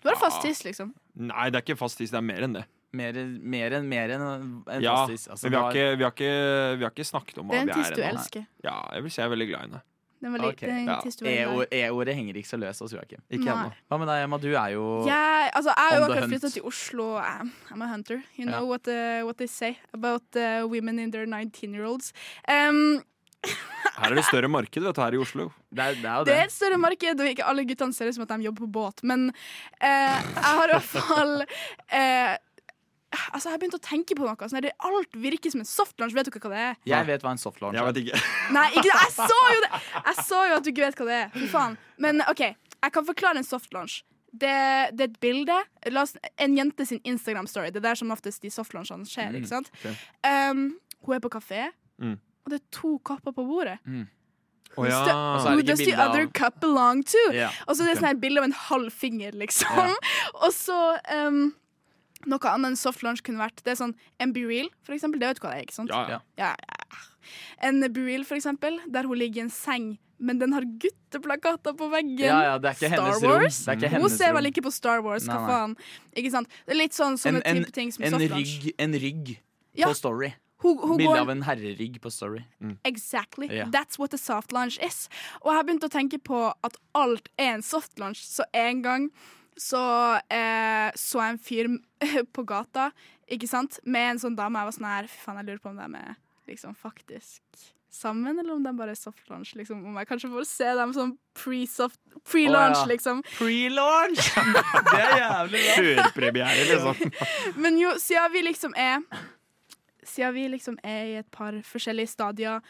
S6: Du har fast tiss, liksom.
S5: Nei, det er ikke fast tiss. Det er mer enn det.
S2: mer, mer enn mer enn en
S5: Ja,
S2: fastis? Altså,
S5: men vi har,
S2: du
S5: ikke, vi, har ikke, vi har ikke snakket om
S6: Det
S5: hva
S6: er en
S5: vi
S6: tiss
S5: er
S6: du
S5: ennå.
S6: elsker.
S5: Ja, jeg vil si jeg er veldig glad i henne.
S6: Den var li-
S2: Ok,
S6: den
S5: ja.
S6: tiss du
S2: har-
S6: var glad i.
S2: E-ord- E-ordet henger ikke så løst hos Joakim.
S5: Ikke
S6: Nei.
S5: ennå.
S2: Hva med deg, Emma? Du er jo
S6: Jeg, altså, jeg har
S2: On
S6: jo
S2: the
S6: akkurat
S2: hunt.
S6: flytta til Oslo. I'm, I'm a hunter. You
S2: Ja.
S6: know what, uh, what they say about uh, women in their 19-year-olds. Um,
S5: Her er det større marked vet du, her i Oslo.
S2: Det er, det er jo
S6: det
S2: det.
S6: er et større marked, og ikke alle guttene ser ut som at de jobber på båt, men eh, jeg har i hvert fall eh, Altså, jeg har begynt å tenke på noe. Sånn, her, det alt virker som en softlaunch. Vet dere hva det er?
S2: Jeg vet hva en softlaunch
S5: Jeg
S2: er.
S5: vet ikke.
S6: Nei, ikke det. Jeg så jo det! Jeg så jo at du ikke vet hva det er. Fy faen. Men OK, jeg kan forklare en softlaunch. Det, det er et bilde. La oss, en jente sin Instagram-story. Det er der som oftest de softlaunchene skjer.
S2: Mm,
S6: ikke sant?
S2: ok.
S6: Um, hun er på kafé,
S5: Mm.
S6: og det er to kopper på bordet.
S5: Å
S2: Og
S5: ja.
S2: så er det
S6: Who
S2: ikke
S6: does the
S2: bilde av-
S6: other cup belong to?
S2: Ja.
S6: Og så er det
S2: Ok.
S6: sånn her bilde av en halv finger, liksom. Og så um, noe annet enn soft launch kunne vært. Det er sånn en be real, for eksempel. Det vet du hva det er, ikke sant?
S5: Ja, ja.
S6: Ja, ja. En be real, for eksempel, der hun ligger i en seng, men den har gutteplakater på veggen.
S2: Ja, ja, det er ikke
S6: Star
S2: hennes rom.
S6: Wars?
S2: Det er ikke
S6: Hun
S2: hennes
S6: ser
S2: rom.
S6: vel ikke på Star Wars, hva
S2: Nei, nei.
S6: faen. Ikke sant? Det er litt sånn sånne
S2: En- en-
S6: type ting som
S2: En
S6: soft launch.
S2: rygg, en rygg
S6: Ja.
S2: på Story.
S6: Hun, hun
S2: Bilde
S6: går
S2: av en herrerygg på Story.
S6: Exactly.
S2: Ja.
S6: That's what a soft launch is. Og jeg har begynt å tenke på at alt er en soft launch. Så en gang så eh, så jeg en fyr på gata, ikke sant, med en sånn dame. Jeg var sånn her, fy faen, jeg lurer på om de er liksom faktisk sammen, eller om de bare er soft launch, liksom. Om jeg kanskje får se dem sånn pre-soft
S2: Å,
S6: Pre-launch,
S2: ja.
S6: liksom.
S2: Pre-launch! Det er jævlig bra.
S5: Førpremiere, liksom.
S6: Men jo, siden vi liksom er Siden vi liksom er i et par forskjellige stadier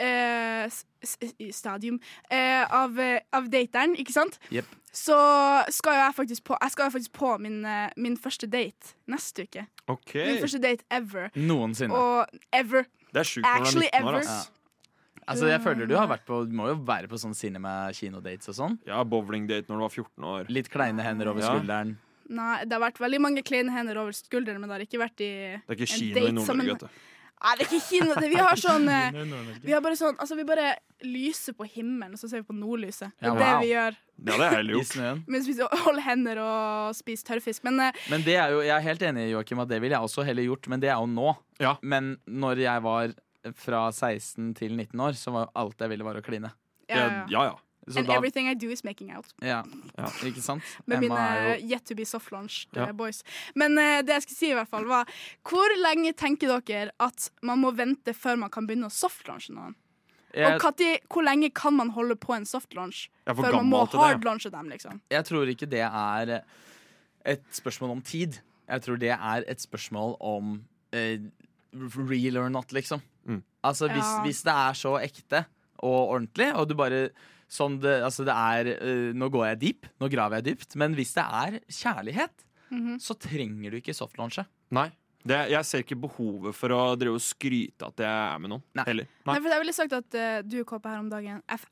S6: eh, s- s- i Stadium eh, av, eh, av dateren, ikke sant?
S2: Jep.
S6: Så skal jo jeg faktisk på Jeg skal jo faktisk på min, eh, min første date neste uke.
S5: OK.
S6: Min første date ever.
S2: Noensinne.
S6: Og ever.
S5: Det er sjukt når du
S6: Actually
S5: er 19
S6: ever.
S5: år, ass.
S2: Altså, jeg føler du har vært på Du må jo være på sånn cinema-kinodates og sånn.
S5: Ja, bowlingdate når du var 14 år.
S2: Litt kleine hender over
S5: Ja.
S2: skulderen.
S6: Nei, det har vært veldig mange kleine hender over skuldrene, men det har ikke vært i
S5: Det er ikke
S6: En
S5: kino i
S6: date som en-
S5: Nord-Norge, vet du.
S6: Nei, det er ikke kino. det- Vi har sånn eh, Vi har bare sånn Altså, vi bare lyser på himmelen, og så ser vi på nordlyset. Det er
S2: Ja,
S6: det
S2: wow.
S6: vi gjør.
S5: Ja, det er helt
S2: I
S5: gjort.
S2: snøen.
S6: Mens vi holder hender og spiser tørrfisk. Men eh,
S2: Men det er jo, jeg er helt enig i Joakim at det ville jeg også heller gjort, men det er jo nå.
S5: Ja.
S2: Men når jeg var fra 16 til 19 år, så var jo alt jeg ville, var å kline.
S6: ja, ja.
S5: Ja, ja.
S2: Så
S6: And
S2: da,
S6: everything I do is making out.
S2: ja,
S5: Ja.
S2: ikke sant?
S6: Med
S2: Emma
S6: mine
S2: er jo
S6: yet to be soft launched
S5: Ja.
S6: eh, boys. Men eh, det jeg skulle si, i hvert fall var Hvor lenge tenker dere at man må vente før man kan begynne å soft launche noen?
S2: jeg,
S6: Og Kati, hvor lenge kan man holde på en soft launch
S5: Jeg er for
S6: før man må
S5: gammel til det.
S6: hard launche dem? liksom
S2: jeg tror ikke det er eh, et spørsmål om tid. Jeg tror det er et spørsmål om eh, real or not, liksom.
S5: Mm.
S2: Altså hvis,
S6: Ja.
S2: hvis det er så ekte og ordentlig, og du bare sånn det, altså det er eh, Nå går jeg deep, nå graver jeg dypt, men hvis det er kjærlighet, så trenger du ikke softlaunche.
S5: Nei. Det, jeg ser ikke behovet for å drive og skryte at jeg er med noen.
S2: Nei.
S5: Heller.
S6: Nei,
S5: Nei.
S6: for Jeg ville sagt at eh, du, Kåpe, her om dagen jeg f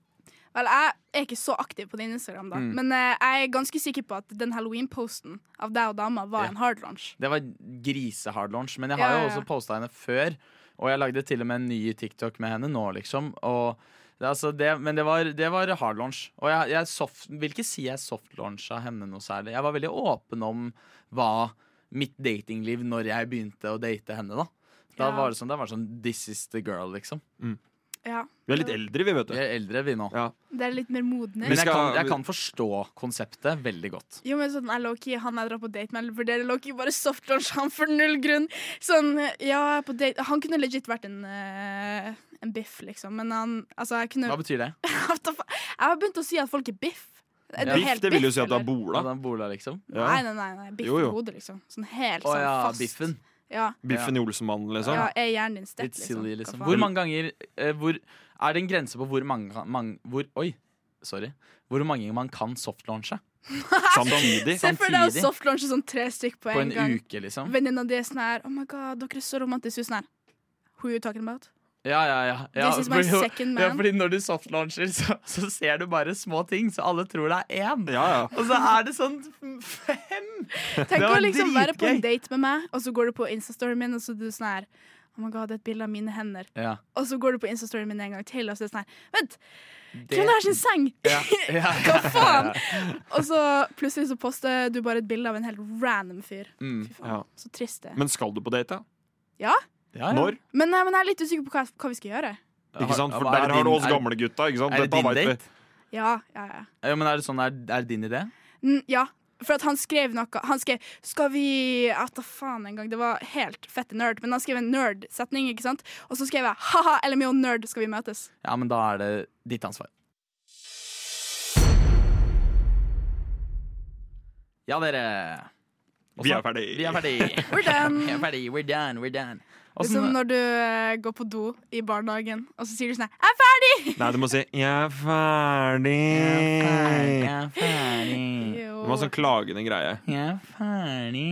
S6: Vel, jeg er ikke så aktiv på din Instagram, da
S2: Mm.
S6: men eh, jeg er ganske sikker på at den halloween-posten av deg og dama var
S2: Ja.
S6: en hard launch.
S2: Det var grisehard launch, men jeg
S6: Ja,
S2: har
S6: ja,
S2: jo
S6: ja.
S2: også posta henne før. Og jeg lagde til og med en ny TikTok med henne nå, liksom. Og det, altså det, men det var, det var hard launch. Og jeg, jeg soft, vil ikke si jeg softlauncha henne noe særlig. Jeg var veldig åpen om hva mitt datingliv når jeg begynte å date henne, da. Da
S6: Ja.
S2: var det sånn, da var det sånn This is the girl, liksom.
S6: Ja,
S5: Vi er litt eldre, vi, vet
S2: Vi
S5: du.
S2: er eldre, vi nå.
S5: Ja.
S6: Det er litt mer modne.
S2: Men jeg kan,
S5: skal-
S2: jeg kan forstå konseptet veldig godt.
S6: Jo, men sånn, jeg lowkey, han jeg drar på date med, eller vurderer lowkey, bare softlaunch han for null grunn. Sånn, ja, jeg er på date Han kunne legit vært en, eh, en biff, liksom, men han Altså, jeg kunne
S2: Hva betyr det?
S6: What the fu- Jeg har begynt å si at folk er biff. Er
S2: Ja.
S6: du helt
S5: Biff, det vil jo si at du
S6: eller?
S5: har bola.
S2: Hvordan bola, liksom?
S5: Ja.
S6: Nei, nei, nei, nei. biff
S5: Jo, jo.
S6: i hodet, liksom. Sånn helt
S2: Å
S6: sånn
S2: ja,
S6: fast.
S2: biffen.
S6: Ja.
S5: Biffen i Olsenmannen, liksom.
S6: ja, er hjernen din stett,
S2: Litt silly, liksom.
S6: Hva faen?
S2: Hvor mange ganger eh, hvor, Er det en grense på hvor mange, mange hvor, Oi, sorry. Hvor mange man kan softlaunche?
S5: Samtidig.
S6: Se for deg å
S2: samtidig?
S6: softlaunche sånn tre stykk på,
S2: På en
S6: gang.
S2: uke, liksom?
S6: Venninna di er sånn her Oh my god, dere er så romantiske. Hun er Sånn her Who you talking about?
S2: Ja, ja, ja. ja
S6: This is my
S2: fordi-
S6: second
S2: ja,
S6: man.
S2: fordi når du softlauncher, så, så ser du bare små ting, så alle tror det er én.
S5: Ja, ja.
S2: Og så er det sånn fem!
S6: Tenk
S2: Det
S6: å
S2: var
S6: liksom være på
S2: dritgøy.
S6: en date med meg, og så går du på Insta-storyen min, og så er du sånn her Oh my god, det er et bilde av mine hender.
S2: Ja,
S6: Og så går du på Insta-storyen min en gang til, og så er det sånn her Vent,
S2: det,
S6: hvem er sin seng?
S2: ja, ja,
S6: Hva faen? Og så plutselig så poster du bare et bilde av en helt random fyr.
S2: Mm.
S6: Fy faen,
S5: Ja.
S6: så trist det. er.
S5: Men skal du på date? da?
S2: ja, ja.
S5: Når?
S6: Men, nei, men jeg er litt usikker på hva, hva vi skal gjøre.
S5: Ikke sant? For
S2: Hva er
S5: der har du
S2: din-
S5: oss gamle gutta. Ikke sant?
S2: Er, er det
S5: Dette
S2: din
S5: vet vi.
S2: date?
S6: Ja, ja, ja.
S2: Ja, men er det sånn, er, er det din idé?
S6: Mm, ja. For at han skrev noe Han skrev 'Skal vi Ja, ta faen en gang. Det var helt fette nerd. Men han skrev en nerd-setning, ikke sant? Og så skrev jeg 'Ha-ha, LMO nerd, skal vi møtes'?
S2: Ja, men da er det ditt ansvar. Ja, dere. Og
S5: Vi
S2: så-
S5: er ferdig.
S2: Vi er ferdig.
S6: We're done.
S2: Vi er ferdig. We're done. We're done.
S6: Det er
S5: Altså,
S6: som
S2: Åssen
S6: når du eh, går på do i barnehagen, og så sier du sånn her, 'Jeg er ferdig!'
S5: Nei, du må si 'jeg er
S2: Jeg
S5: ferdig'.
S2: er ferdig.
S5: Det var
S6: Jo.
S5: sånn klagende greie.
S2: Jeg er ferdig.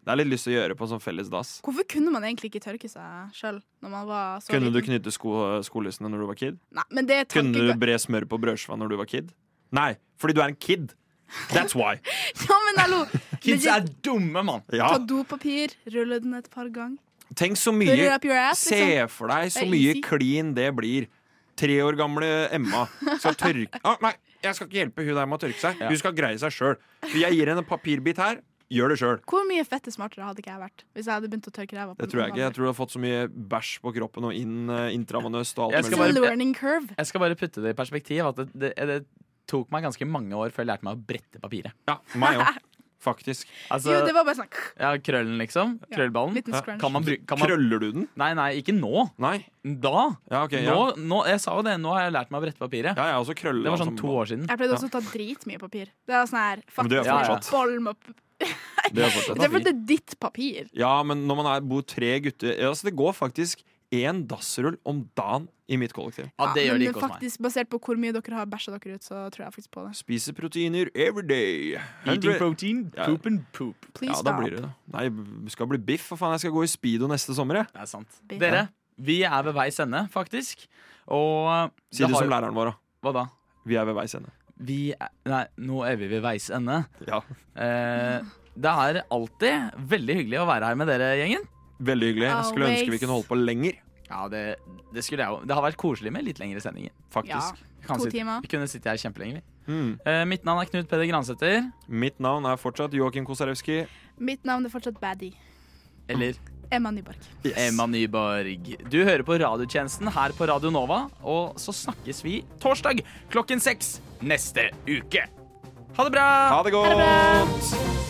S5: Det er litt lyst til å gjøre på en sånn felles dass.
S6: Hvorfor kunne man egentlig ikke tørke seg sjøl når man var så
S5: Kunne du
S6: liten?
S5: knytte sko skolissene når du var kid?
S6: Nei, men det er
S5: Kunne du
S6: tankegang.
S5: bre smør på brødskiva når du var kid? Nei, fordi du er en kid. That's why.
S6: Ja, men hallo!
S2: Kids
S6: Legit,
S2: er dumme, mann.
S5: Ja.
S6: Ta dopapir, rulle den et par ganger.
S5: Tenk så
S6: Put it
S5: mye
S6: up your ass, liksom.
S5: Se for deg så
S6: Det er
S5: mye
S6: easy.
S5: klin det blir. Tre år gamle Emma skal tørke ah, Nei, jeg skal ikke hjelpe hun der med å tørke seg. Hun skal greie seg sjøl. Jeg gir henne en papirbit her. Gjør det sjøl.
S6: Hvor mye fette smartere hadde ikke jeg vært hvis jeg hadde begynt å tørke ræva? på
S5: Det tror jeg
S6: noen
S5: ikke. Jeg
S6: andre?
S5: tror du har fått så mye bæsj på kroppen og inn eh, intravenøst og
S2: Jeg skal
S5: alt
S6: It's a
S5: mulig.
S2: bare-
S6: learning curve.
S2: Jeg skal bare putte det i perspektiv. At det, det, det tok meg ganske mange år før jeg lærte meg å brette papiret.
S5: Ja, meg òg. Faktisk.
S2: Altså,
S6: Jo, det var bare sånn
S2: ja, krøllen, liksom.
S6: Ja,
S2: Krøllballen.
S6: liten
S5: Ja.
S6: scrunch.
S2: Kan man bruke kan man,
S5: Krøller du den?
S2: Nei, nei, ikke nå.
S5: Nei?
S2: Da.
S5: Ja, ok. Ja,
S2: Nå, nå, jeg sa jo det, nå har jeg lært meg å brette papiret.
S5: ja jeg har også krøller.
S2: Det var sånn
S5: altså.
S2: to år siden.
S6: Jeg pleide også å ta dritmye papir. Det er sånn her
S5: Men det gjør
S6: faktisk,
S2: fortsatt.
S6: boll med p-
S5: Det er fortsatt.
S6: Det er fordi det er ditt papir.
S5: Ja, men når man er, bor tre gutter ja, altså Det går faktisk én dassrull om dagen i mitt kollektiv.
S2: Ja, det gjør
S6: men
S2: de ikke hos meg.
S6: faktisk, Basert på hvor mye dere har bæsja dere ut, så tror jeg faktisk på det.
S5: Spiser proteiner every day.
S2: Eating protein,
S5: Ja.
S2: poop and poop.
S6: Please
S5: Ja, da
S6: stop.
S5: blir det det. Nei, det skal bli biff, for faen. Jeg skal gå i speedo neste sommer, jeg.
S2: Det er sant.
S6: Biff.
S2: Dere, vi er ved veis ende, faktisk. Og
S5: Si det
S2: har-
S5: som læreren vår, da.
S2: Hva da?
S5: Vi er ved veis ende.
S2: Vi er, Nei, nå er vi ved veis ende.
S5: Ja.
S2: Eh, det er alltid veldig hyggelig å være her med dere, gjengen.
S5: Veldig hyggelig. Jeg skulle ønske vi kunne holde på lenger,
S2: Ja, det, det skulle jeg jo. Det har vært koselig med litt lengre sendinger.
S5: faktisk.
S2: Vi kan
S6: To
S2: sitte-
S6: timer.
S2: Vi kunne sitte her kjempelenge. vi.
S5: Mm.
S2: Eh, mitt navn er Knut Peder Gransæter.
S5: Mitt navn er fortsatt Joakim Kosarewski.
S6: Mitt navn er fortsatt Baddy.
S2: Eller
S6: Emma Nyborg.
S2: Emma Nyborg. Du hører på radiotjenesten her på Radio Nova, og så snakkes vi torsdag klokken seks neste uke. Ha det bra!
S5: Ha det godt!